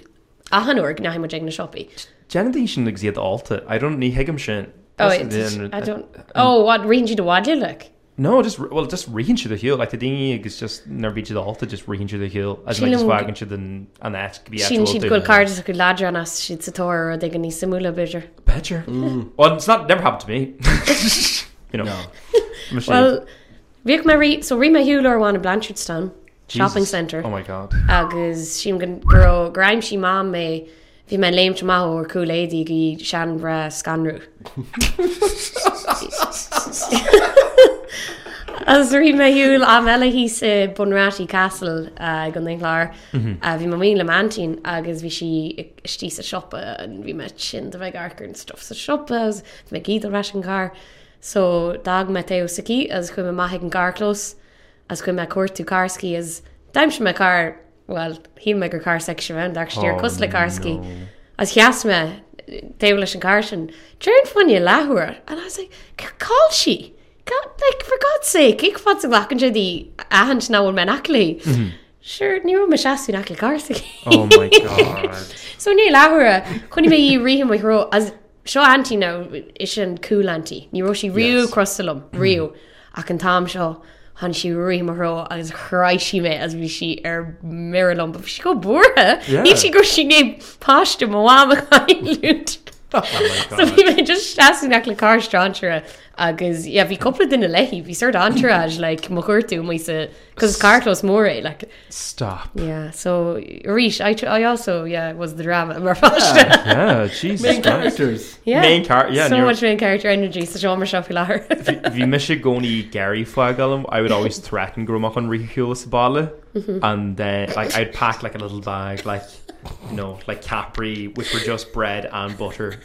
S2: Ahanor Gnahim Jagna Shoppy.
S1: Jenny sin ag siad alta. I don't need higam sin.
S2: Oh,
S1: That's
S2: it's,
S1: the-
S2: I don't. Oh, what range you to wadja like?
S1: No, just well, just reaching to the hill. Like the dingy is just never reach the altar, just reaching to the hill. As much as
S2: Sílim-
S1: wagging to the and that's be
S2: Sin
S1: actual.
S2: siad go cardis go ládra an as siad sa tóra ag an ní simúla bidr.
S1: Better. Well, it's not never happened to me. you know.
S3: No.
S1: Machine.
S2: Well, Rick Marie, so Rima Hewler won a Blanchardstown
S1: Jesus.
S2: shopping centre.
S1: Oh my god.
S2: agus sin gan gro graim si má mé bhí me léim má ó coolléí go sean bre scanrú. As ri me hiúil a meile hí sa bunráí uh, Castle uh, gan léir
S1: Mhm.
S2: a Uh, bhí ma míle mantín agus bhí si tí a shoppa an bhí me sin a bheith garcurn stof sa shoppas me gí a ras an gar. So dag me teo saí as chuim maithe an garlós as chuim me cuatú carcí as daim se me car well hí me gur car section round ar
S1: Oh,
S2: cos le carcí.
S1: no.
S2: As cheas me déh leis an carsin, Dúirn fanine lethúair an I was like, "Cá si? Ca- like, For God's sake, ag fa a bhachan sé dí ahan náhfuil me nachlaí. Sure, ní me seaú nach le carsa.
S1: Oh my god.
S2: So ní lethúra chunig mé í riham ró as seo antí ná is an coolantí. Ní ro si riú
S3: Yes.
S2: crostalm
S1: Mm-hmm.
S2: riú ach an tám seo. Han si rimarró agus chráisi mé as bhí si ar mélum, b si go borthe
S1: Yeah.
S2: í si go sin é páiste máhamút.
S1: Oh my
S2: So
S1: god.
S2: bhí mé just staú nach le cáiste antere agus yeah, bhí coppla duna leihí, bhí suirt antraid le mo chuirú mu sa cos carlos mór é le
S1: Stop.
S2: Yeah, so Reesh, I, tr- I also yeah was the drama in Marfashta.
S1: Yeah, Jesus Christ.
S3: characters
S2: Yeah.
S1: Main char- yeah,
S2: so
S1: and you're-
S2: much main character energy. So Sean Michelle Pilar.
S1: If you miss a goni Gary Flagalum, I would always threaten Grumach on Rikios Bala. And then like I'd pack like a little bag like you know, like Capri, which were just bread and butter.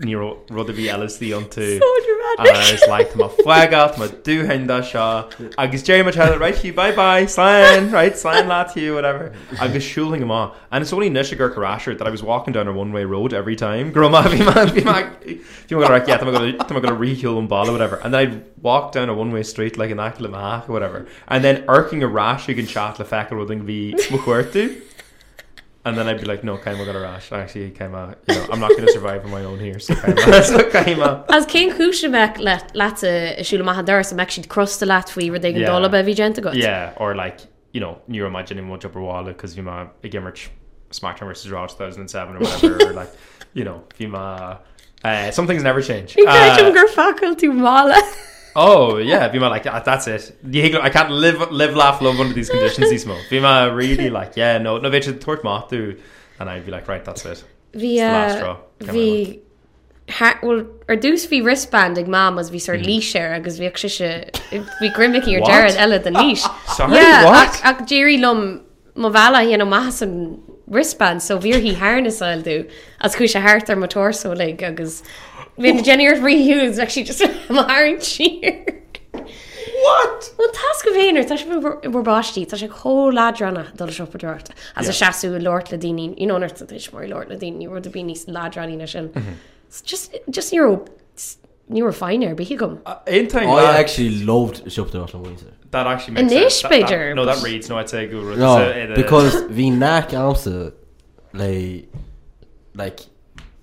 S1: Nero Rotherby Ellis the unto
S2: So
S1: and I
S2: dramatic.
S1: was like my flag out my do henda shaw I guess Jerry much had right you bye bye sign right sign lot to you whatever I was shooling him off and it's only Nishigar Karasher that I was walking down a one way road every time grandma be man be man if you want to yeah I'm gonna I'm gonna reheal and ball or whatever and then I'd walk down a one way street like an akla mahak or whatever and then irking a rash you can chat the fact or thing be mukwertu and then I'd be like, no, Kaima got a rash. Actually, Kaima, you know, I'm not going to survive on my own here. So Kaima, so Kaima,
S2: As King Kushamek let let a Shula Mahadar some actually crust the lat we were digging
S1: Yeah.
S2: dollar by Vigenta got.
S1: Yeah, or like, you know, you're imagining much upper wallet because you might, again, Rich SmackDown versus Raw 2007 or whatever, or like, you know, you might, uh, some things never change.
S2: You
S1: Uh,
S2: catch him girl faculty mala.
S1: oh, yeah, Vima, like, that, that's it. Yeah, I can't live, live, laugh, love under these conditions, Ismo. Vima, really, like, yeah, no, no, bitch, tort moth, dude. And I'd be like, right, that's it. last straw.
S2: Via
S1: Come
S2: vi uh, ha well or deuce vi wristband ag mom as vi sort leash air agus vi actually vi grimmicky or
S1: Mm. What?
S2: Jared Ella the leash.
S1: Sorry,
S2: Yeah,
S1: what?
S2: ac, ac Jerry Lum Mavala hi no mahasan wristband so bhír hí hánas áil dú as chuis a háart ar motor so le agus mé na Jennyir riúús ag si just háann tír.
S1: What?
S2: Well tas go bhéanaar tá barbátí tá sé cho ládranna do sipaúirta as a seaú Lord le daine inarta éis mar Lord le daine ru a bí níos ládraíine sin
S1: Mm-hmm.
S2: just just ní ní feinar bhí gom.
S1: Uh, In time
S3: I
S1: that,
S3: actually loved Shop the Russian Winter.
S1: that actually
S2: An
S1: makes sense.
S2: ish
S1: That- that-
S2: bigger,
S1: No, that
S2: but-
S1: reads no I'd say guru.
S3: No,
S1: uh,
S3: because we knack also like like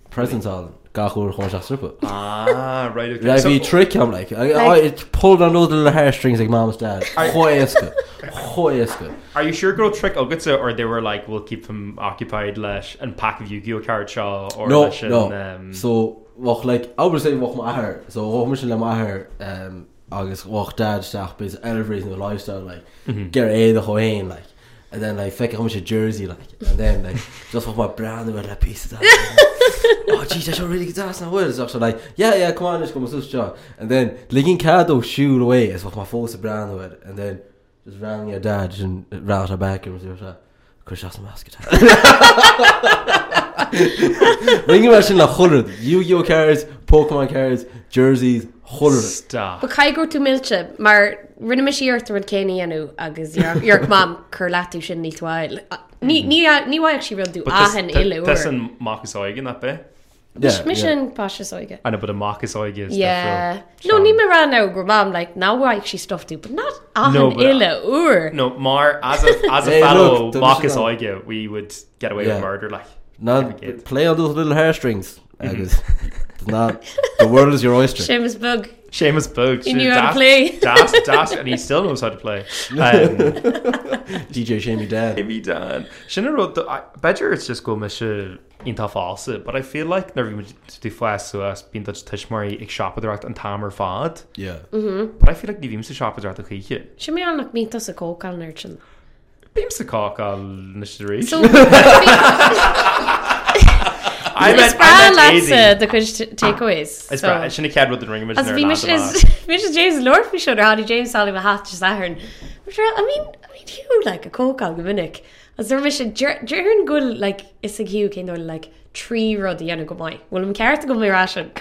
S3: presents on Gahur Honsha Super.
S1: ah right okay.
S3: Like we trick him like I, I
S2: Like-
S3: it pulled on all the little hairstrings like mom's dad. Hoyeska, hoyeska.
S1: Are you sure girl trick Ogutsa or they were like we'll keep him occupied lesh and pack of Yu-Gi-Oh card shaw or
S3: No,
S1: leis an,
S3: no.
S1: um,
S3: So walk like I would say walk my hair. So walk mission let my hair. Um, August walk dad staff is everything the lifestyle like
S1: Mm-hmm.
S3: get a the Hawaiian like. And then like fake how much a jersey like, and then like just with my brand and that piece of that. oh jeez, I should really get that. Now what is actually like? Yeah, yeah, come on, just come with us, And then legging cado shoot away as with my false brand with it, and then just ran your dad and ran her back and was like, "Crush us a mask attack." Ring mar sin le choir Yu-Gi-Oh cards, Pokemon cards, jerseys, choir.
S1: stop
S2: Ba caigur tú milse mar rinne me síart rud céine anú agus dhearc mam chur leú sin ní thuáil. Ní níhaid si bhil dú ahan iú
S1: That's in Marcus Eugen that bit
S2: mi sin páige.
S1: I know but a Marcus Eugen is
S2: Yeah.
S1: definitely-
S2: No ní mar ran ná gur mam le náhaid si stoftú, but ná
S1: No,
S2: ahan
S1: but-
S2: ile úr.
S1: No, Mar, as a, as a
S3: Hey,
S1: fellow
S3: look, there was
S1: Marcus
S3: some-
S1: Oiga, we would get away yeah.
S3: Yeah.
S1: with murder. Like,
S3: Now
S1: kid.
S3: play on those little hair strings. Agus. Not the world is your oyster.
S2: Seamus bug.
S1: Seamus Bugs.
S2: He knew how to play.
S1: Dash, dash, and he still knows how to play. Um,
S3: DJ Shamey Dad.
S1: Maybe Dan. Shinna wrote, the, I bet you it's just go Misha into false, but I feel like never even to flash so as being touch Tishmari, ik shop with her at and Tam or Fad,
S3: Yeah.
S1: but I feel like you've even to shop with her at the Kiki.
S2: Si mé annach mí a cóáil nurtin.
S1: Beams the cock uh, on Nisha
S2: So
S1: I meant, I meant
S2: lá
S1: Azy.
S2: de chuid takeaways.
S1: It's
S2: so-
S1: Brad. Shinna Cad with the ring image.
S2: As bhí mis is James Lord fi seo há James Sal a hat san. hiú le a cóáil go minic. As er mis dearn go le is a hiú cé le trí rud dhéanana go maiid. Bhfuil an ceart go mérá sin.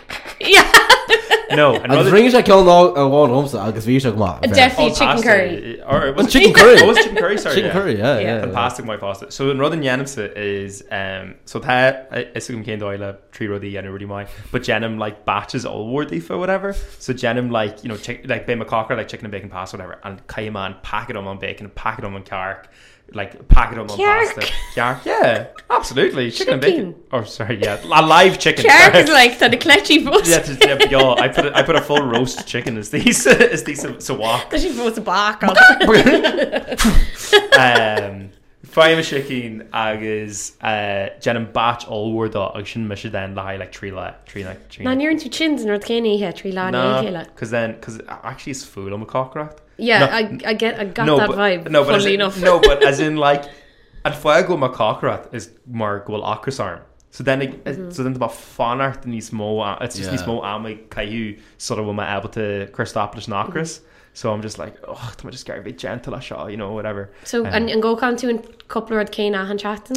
S1: No,
S3: And the
S1: another
S3: ring is like y'all know a one home set. Agus Vishak Ma.
S2: Definitely
S1: Oh,
S2: chicken
S1: pasta.
S2: curry.
S1: Or it was
S3: Chicken curry.
S1: What was chicken curry? Sorry,
S3: Chicken
S1: yeah.
S3: curry, yeah,
S2: Yeah.
S3: yeah. yeah.
S1: Fantastic my pasta. So in Rodden Yenimsa is um so that is who came doyle uh, tree Roddy and Rudy my but Jenim like batches all worthy for whatever. So Jenim like you know chick, like Bay McCocker like chicken and bacon pasta whatever and Cayman packet them on bacon packet them on cark like packet them on
S2: Carrick.
S1: pasta. Cark, yeah, absolutely chicken, chicken and
S2: Chicken.
S1: bacon. Or sorry, yeah, a live chicken.
S2: Cear
S1: sorry.
S2: is le tá de cléití bó
S1: yeah, just, yeah, but y'all, I put a, I put a full roast chicken as these as these so walk.
S2: Tá sin bó a bach
S1: um, Fáim sicín agus uh, jeannn bat allhúdá agus sin me se den le le trí le trí le
S2: ná níann tú chin an rud céanaíthe trí lá chéile.
S1: cos then cos actually is fú am a cockrat
S2: Yeah, I, I get I got no, that
S1: but,
S2: vibe.
S1: no, but as
S2: funnily
S1: in,
S2: enough.
S1: no but as in like an foiil go mar cockrat is mar ghfuil acrasarm so then it,
S2: Mhm.
S1: mm-hmm. so then ba fanart ní mó it's just yeah. ní
S3: Yeah.
S1: mó am caiú sort of ma able to Christopolis nachras
S2: Mhm.
S1: mm-hmm. so I'm just like oh tá just gar bit gentle a seo you know whatever
S2: So an an ggóán tú an coppla céine a an chatan?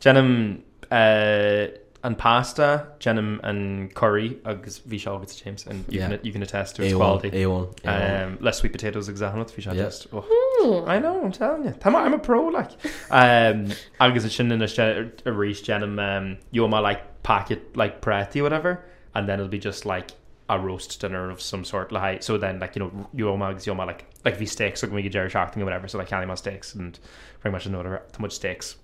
S1: Jenim uh, an pasta, Jenim an curry agus bhí se agus James and you, yeah.
S3: Yeah.
S1: can, you can attest to its
S3: A1,
S1: quality.
S3: A1, A1.
S1: Um, less sweet potatoes examined fi
S3: Yeah.
S1: just oh.
S2: Hmm.
S1: I know I'm telling you Tam, I'm a pro like um, agus a sin in a, a reach Jenim um, you my like packet like pretty whatever and then it'll be just like a roast dinner of some sort like so then like you know you my you my like like these steaks like make Jerry Sharking or whatever so like candy my steaks and pretty much no whatever too much steaks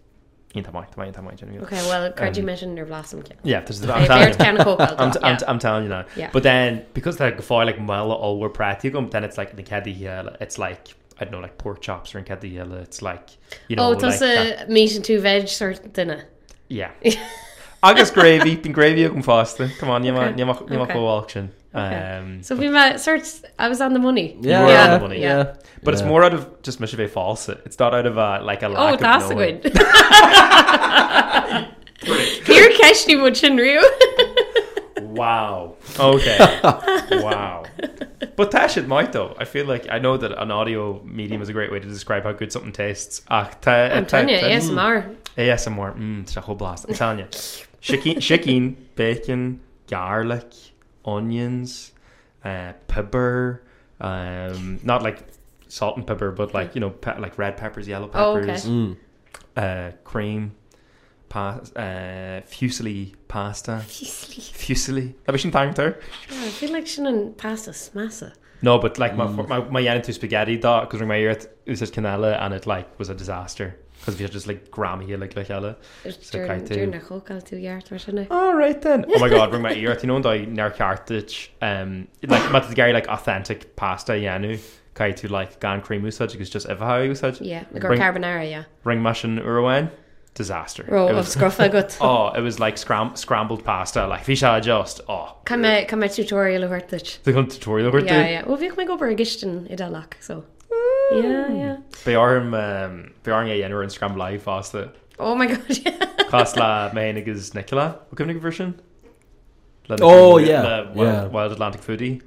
S1: in my in my in my
S2: Okay, well, Cardi um, mission or Blossom King.
S1: Yeah, there's the
S2: They bear
S1: I'm telling
S2: can
S1: you.
S2: of cocoa.
S1: I'm, t- I'm,
S2: Oh, yeah.
S1: t- I'm telling you that.
S2: Yeah.
S1: But then because they're for like well all were practicum, then it's like the caddy hill. It's like I don't know, like pork chops or in caddy hill. uh, It's like you know,
S2: oh,
S1: like
S2: that's
S1: that.
S2: a meat and two veg sort of dinner.
S1: yeah. Agus gravy, been gravy come faster. Come on, you might you might you might
S2: Okay.
S1: go auction.
S2: Okay.
S1: Um,
S2: So we met search. I was on the
S1: were
S2: money.
S1: on the
S3: Yeah,
S1: money.
S3: yeah.
S1: but it's
S3: Yeah.
S1: more out of just much of a false. It's not out of a like a lack
S2: Oh,
S1: of
S2: that's a
S1: knowing.
S2: good. Here, Keshni would Shinryu.
S1: Wow. Okay. wow. But Tash it might though. I feel like I know that an audio medium is a great way to describe how good something tastes. Ach, ta,
S2: I'm telling
S1: eh?
S2: you, ASMR.
S1: ASMR. Mm, it's a whole blast. I'm telling you. Chicken, chicken, bacon, garlic, onions, uh, pepper. Um, not like salt and pepper, but like you know, pe- like red peppers, yellow
S2: Oh, okay.
S1: peppers,
S3: Mm.
S1: uh, cream, pa- uh, fusilli pasta,
S2: Jeez,
S1: fusilli. Have you seen time there?
S2: I feel like she's in pasta smassa.
S1: No, but like my my my Yanitu spaghetti dot because my earth it was just canela and it like was a disaster because we had just like grammy here like like hella.
S2: During
S1: kind of-
S2: during the whole two years, wasn't it?
S1: All right then. eh? Oh my god, bring my earth. You know, I near cartage. Um, like but the guy like authentic pasta Yanu. Kai to like gan cream usage because just ever how usage.
S2: Yeah, like our
S1: Bring,
S2: carbonara, yeah.
S1: bring mash and urwan. Disaster.
S2: Row
S1: it
S2: of
S1: was,
S2: scruff I got.
S1: oh, it was like scram- scrambled pasta. Like fisha just oh.
S2: Come a come a tutorial of it.
S1: The tutorial over
S2: Yeah, yeah. Well, we can go for a gishtin idalak,
S1: Mm.
S2: so. Yeah, yeah.
S1: They are um they are yeah Yanu and scrambled live pasta.
S2: Oh my god, yeah.
S1: Cos le mégus Nicola go cymnig version? Le-
S3: Oh,
S1: le-
S3: yeah,
S1: le
S3: yeah.
S1: Wild, Wild Atlantic Foodie.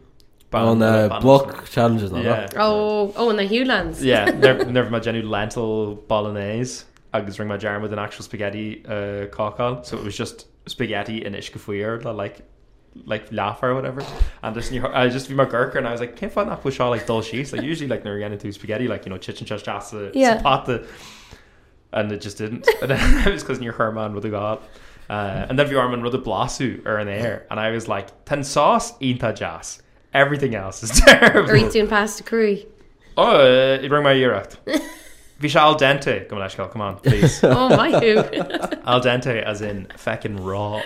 S3: on uh,
S1: ban-
S3: block challenges on
S1: Yeah.
S3: that.
S2: Oh, oh, and the Hewlands.
S1: yeah, nerf nerf my genu lentil bolognese. agus ring my jar with an actual spaghetti uh, cockle. So it was just spaghetti and ishkafuir, like like laugh or whatever. And just near, I just be my gurker and I was like, can't find that push all like dull sheets. Like usually like never get into spaghetti, like you know, chitchen chachasa,
S2: Yeah.
S1: sapata. uh, And it just didn't. And then it was because near Herman with a god. Uh, and then Bjorman with a blasu or an air. And I was like, ten sauce, inta jas. Everything else is terrible.
S2: Or eat doing pasta curry.
S1: Oh, uh, you bring my ear out. Visha al dente. Come on, Ashkel, come on, please.
S2: Oh my god.
S1: al dente as in feckin' raw.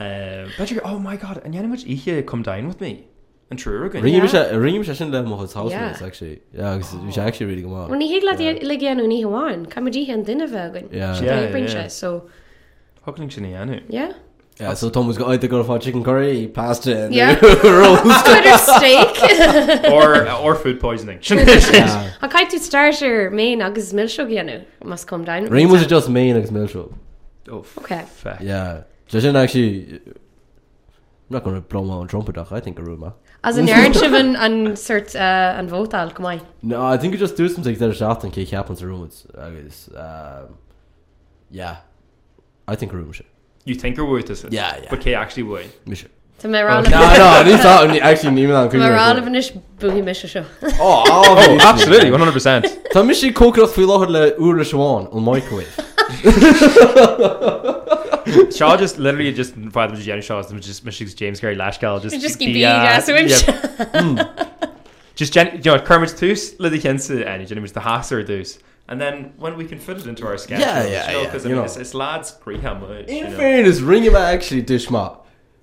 S1: um, but you, oh my god, and you know how much Ihe come down with me? And true again.
S3: Ring
S2: Yeah.
S3: him a ring him session level his house
S2: Yeah.
S3: mates actually. Yeah, 'cause we should actually really come
S2: When
S3: on.
S2: he had like yeah, no, he won. Come and eat and dinner vegan.
S1: Yeah,
S3: Yeah.
S2: Yeah,
S1: yeah, yeah.
S2: yeah. So
S1: Fucking Chinianu.
S2: yeah.
S3: Yeah, so Tom was "Oh, got out the girl for chicken curry, pasta and
S2: Yeah.
S3: roast.
S2: Twitter steak.
S1: Or, uh, or food poisoning. yeah.
S3: Yeah.
S2: I can't do starter main agus milshog you know must come down.
S3: Ring was just me and his milk shop.
S1: Oh, f-
S2: Okay.
S1: feck. Yeah.
S3: Yeah. Justin actually I'm not gonna blow my own trumpet dog, I think a rumor.
S2: As an narrative and and cert uh, and vote al come on.
S3: No, I think you just do some things that are soft and kick happens to rumors. I guess um yeah. I think rumor shit.
S1: You think you're worth this?
S3: Yeah, yeah.
S1: But Kay actually would.
S3: Mission.
S2: To
S1: Oh,
S2: my
S3: No,
S2: round of
S3: no, these are actually Nima and
S2: to my round of nish boogie misha show.
S3: Oh,
S1: Oh, absolutely, 100%.
S3: Tá mis sí cócroch fi láthir le úra seáin ó microwave.
S1: Shaw just literally just five minutes Jenny Shaw's just Michigan's James Gary Lashgal just
S2: Just
S1: be-
S2: keep being
S1: be, uh,
S2: ass
S1: yeah, Hmm.
S2: with.
S1: Just gen- you know, Kermit's tooth, Lily Kinsa, and Jenny was the Hasser deuce. And then when we can fit it into our schedule,
S3: Yeah, yeah,
S1: you know,
S3: yeah,
S1: Because
S3: you
S1: I mean,
S3: know.
S1: it's, it's lads, Graham, uh, you
S3: In
S1: know.
S3: fairness, ring him actually dish ma.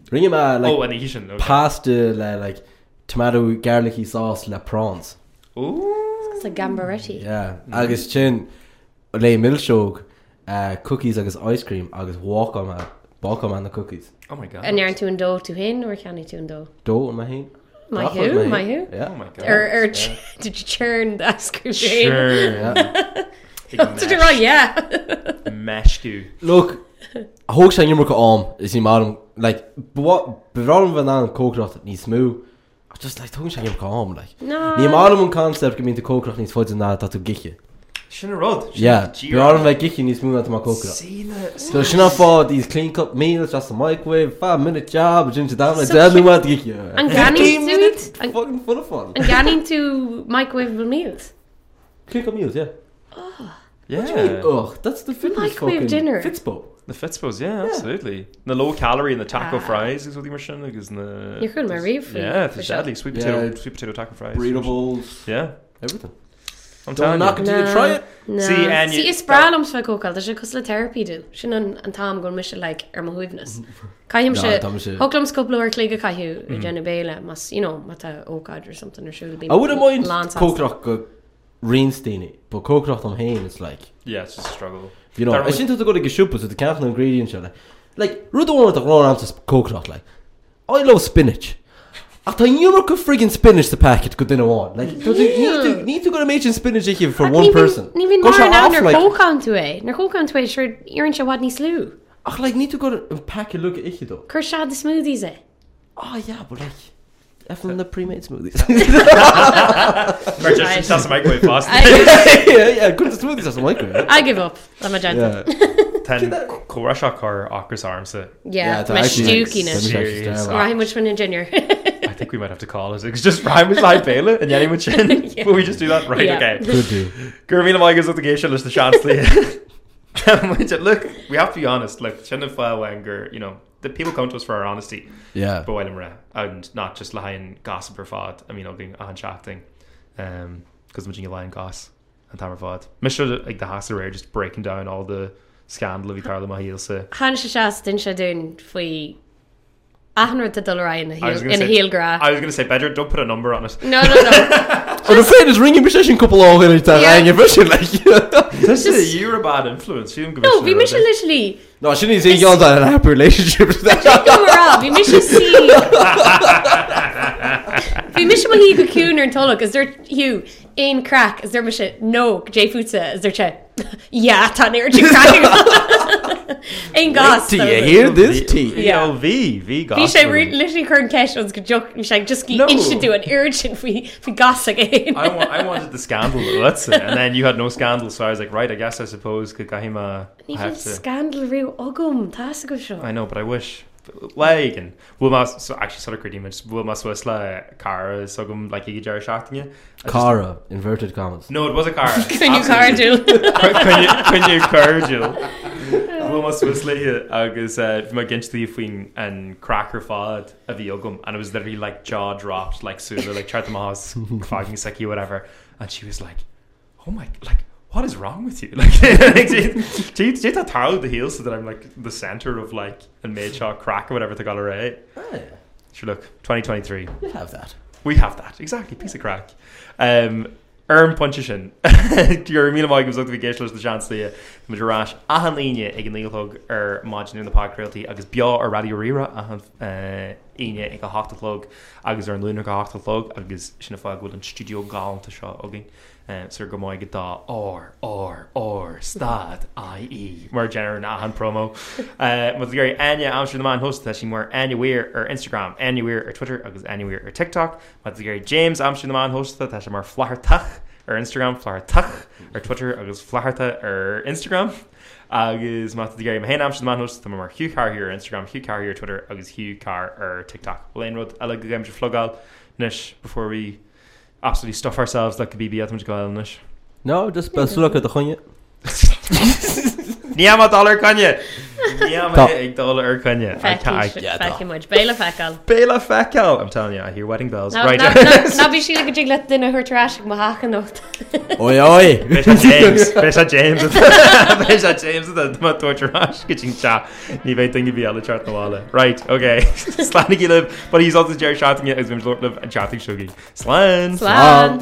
S3: Ring him like
S1: Oh,
S3: oh,
S1: and the Asian. Okay.
S3: pasta le like tomato garlicky sauce le prawns.
S1: Ooh.
S2: It's like gambaretti.
S3: Yeah.
S1: Mm-hmm.
S3: Mm. Agus chin le milkshog, uh, cookies agus ice cream agus walk on ma, walk on the cookies.
S1: Oh my god.
S2: And you're into do to hin or can you to do?
S3: Do in my hand.
S2: My
S3: Drop it in
S2: who? My who?
S3: hand. Yeah.
S1: Oh my god.
S2: Or or ch- did you churn the ice cream?
S1: Sure.
S3: yeah.
S2: Did you wrong? Yeah.
S1: Mesh you.
S3: Look, a hoog zijn jummer om is niet maar like wat waarom we dan kookkracht niet smoo. Just like hoog zijn jummer om like.
S2: No.
S3: Ní má an concept go mín de cócrach níos fóidir ná tá tú giche.
S1: Shin Rod.
S3: Ja, bí an bheith giche níos múna má cócrach. So sinna fá dís clean cup meal just a microwave, 5 minute job, gin te dána
S2: So
S3: déú
S2: cute.
S3: má giche.
S2: And Ganny's dude. And,
S3: fucking full of fun.
S2: and Ganny to microwavable meals.
S3: Clean cup meals, yeah.
S1: Yeah.
S3: Ugh, that's the fitness
S2: microwave
S3: fucking
S2: dinner.
S3: Fitspo.
S1: The Fitzbos, yeah, yeah, absolutely. And the low calorie and the taco ah. fries is what you're missing. Like, is in the
S2: You're good, my reef.
S1: Yeah, it's deadly. Sweet potato, yeah.
S3: Yeah.
S1: sweet potato taco fries.
S3: Breedables,
S1: Yeah,
S3: everything.
S1: I'm
S3: Don't
S1: telling
S3: knock
S1: you.
S3: it till you
S2: No.
S3: try it.
S2: No.
S1: See, and
S2: See,
S1: you-
S2: is braal om sve kokal, dat is ook als therapy do. Sin an an tam gon mis like er ma huivnes. Kai him
S3: No,
S2: se
S3: tam is het-
S2: hoklums koplo er kliga kai hu jenne bele mas you know mata okad or something or should be.
S3: Mm. I wouldn't mind
S2: Lance
S3: cócrach go reinsteiny, but cócrach am hain is like
S1: Yeah, it's just a struggle.
S3: You know,
S1: They're
S3: I
S1: like-
S3: shouldn't have to go to Geshupa to the capital ingredient show. Like, like Ruth don't want to run out to coconut. Like, I love spinach. I thought you were friggin' spinach the packet could dinner on. Like, yeah. you need to, need to go to Machin spinach here for one person.
S2: Ni vin
S3: Go
S2: mar
S3: shop
S2: na
S3: off,
S2: ner
S3: like,
S2: kokal to e. Ner kokal to e sure irin se wadni slu.
S3: um, Ach, like, need to go to a packet look at it though.
S2: Kershad the smoothies e.
S3: Oh, yeah, but like, Eflin na pre-made smoothies.
S1: Or just- just has a microwave pasta.
S2: I,
S3: yeah, yeah, good smoothies as a microwave.
S2: I give up. I'm a gentle.
S3: Yeah,
S1: Ten Korashak or Akers Armsa.
S2: Yeah,
S3: it's
S2: my
S3: actually-
S1: it's
S2: stookiness.
S1: a-
S3: it's actually
S2: Ryan Witchman and Junior.
S1: I think we might have to call it. It's just Ryan with Live Baylor and Yanni with Chin.
S2: Yeah.
S1: Will we just do that? Right,
S2: Yeah.
S1: okay.
S3: Good do.
S1: Gurmina Migas at the geisha list the chance Look, we have to be honest. Look, Chin and Wanger, you know, the people come to us for our honesty.
S3: Yeah.
S1: Bhfuilm ra and not just lehain gasam per fád a um, mí gin an chatting cos mu lein gas an tam fád. Mis ag de has réir just breaking down all the scandal hí Carla mahíil se.
S2: Han se seas din se dún faoi ahanra a dorá in
S1: I was gonna
S2: a
S1: say-
S2: heel gra.
S1: I was gonna say better don't put a number on it.
S2: No, no, no.
S3: Well, Oh, the fan is ringing precision couple all in time.
S2: Yeah.
S3: Yeah. You're pushing like.
S1: This is you're a bad influence.
S2: No, we mis literally
S3: No, she needs to get on a happy relationship.
S2: go ra, we mis si. We mis ma hi go cún ar tolach is there hiú ein crack is there mis no J futsa is there che yeah tá neir tú crack ein gas
S3: Do you hear this tea?
S2: Yeah.
S1: LV V
S2: Bhí
S1: gas.
S2: sé ri- literally chun ceisiúns go joc sé just cí
S1: No.
S2: institú an urgent fao fao gas a
S1: I,
S2: gé.
S1: wa- I wanted the scandal, that's it. and then you had no scandal, so I was like, right, I guess I suppose Kagahima. I
S2: Ní
S1: have
S2: bhín
S1: to.
S2: scandal riú agam tá go seo.
S1: I know, but I wish. Like and Will Mas so actually sort of great image. Will Mas was like Cara, so I'm like you jar shafting you.
S3: Cara, inverted commas.
S1: No, it was a Cara.
S2: Can you car do?
S1: Can you can you cordial? Will Mas was like I was uh, from against the thing and cracker fad of the yogum, and it was literally like jaw dropped, like Sula, like Charta Mahas, fucking Seki, whatever, and she was like, oh my, like. What is wrong with you? Like, do you get that towel the heels so that I'm like the center of like a made shot crack or whatever they got right? Sure, look, 2023.
S3: You have that.
S1: We have that. Exactly. Piece of crack. Um, Erm Punchison. Your Mina Mike was up to be geishless the chance to you. Majarash, Ahan Linia, Egan Leelhug, er Majin in the Pod Crealty, Agus Bia or Radio Rira, Ahan uh, Inia, Ega Hachtalug, Agus Ern Lunar Ga Hachtalug, Agus Shinafag Wooden Studio Gal to Shaw Ugging. Eh, Sir Gamoy Gada, or, or, or, stad, i.e. Mer Jenner and Ahan promo. Uh, With the Gary Anya, I'm sure the man host that she more anywhere or Instagram, anywhere or Twitter, Agus anywhere or TikTok. With the Gary James, I'm sure the man host that she more Flahertach ar Instagram flahartach ar Twitter agus flaharta ar Instagram agus má de gaim héna am manhos tá mar hiú car ar Instagram hiú car ar Twitter agus hiú car ar TikTok. Léonrod eile go gaim flogáil nish before we absolutely stuff ourselves le go bíbí am go nish.
S3: No, just best look at the chunya.
S1: Ní am dollar canne Ní am
S3: Tá.
S1: ag dollar ar canne
S3: yeah,
S2: Feicim muid béile feáil.
S1: Béla fecail I'm telling you I hear wedding bells right
S2: Na bhí si go dtí le duna thutarráisiach má hachan nócht.
S3: Oi, oi.
S1: Bes a James Bes a James Bes a James má torturás getting cha ní bheith dinge bhí eile chat nóála. Right, okay. Slánig í lib, but he's also Jerry shouting it as been lort live and chatting sugi. Slán.
S2: Slán.